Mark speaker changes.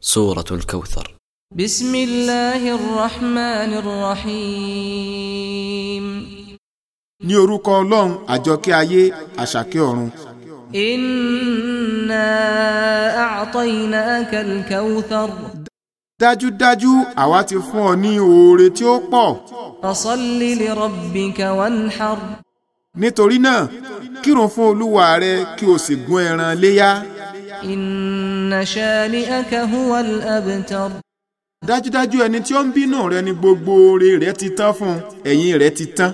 Speaker 1: سورة الكوثر
Speaker 2: بسم الله الرحمن الرحيم
Speaker 3: ní orúkọ ọlọ́run àjọkẹ́ ayé àṣàkẹ́ ọ̀run
Speaker 2: إنا أعطيناك الكوثر
Speaker 3: dájúdájú àwa ti fún ọ ní oore tí ó pọ̀
Speaker 2: فصل لربك وانحر
Speaker 3: nítorí náà kírun fún olúwa rẹ kí o sì gún ẹran léyá
Speaker 2: إن شانئك هو الأبتر
Speaker 3: dájúdájú ẹni tí ó ń bínú rẹ ni gbogbo oore rẹ ti tán fún ẹ̀yìn rẹ ti tán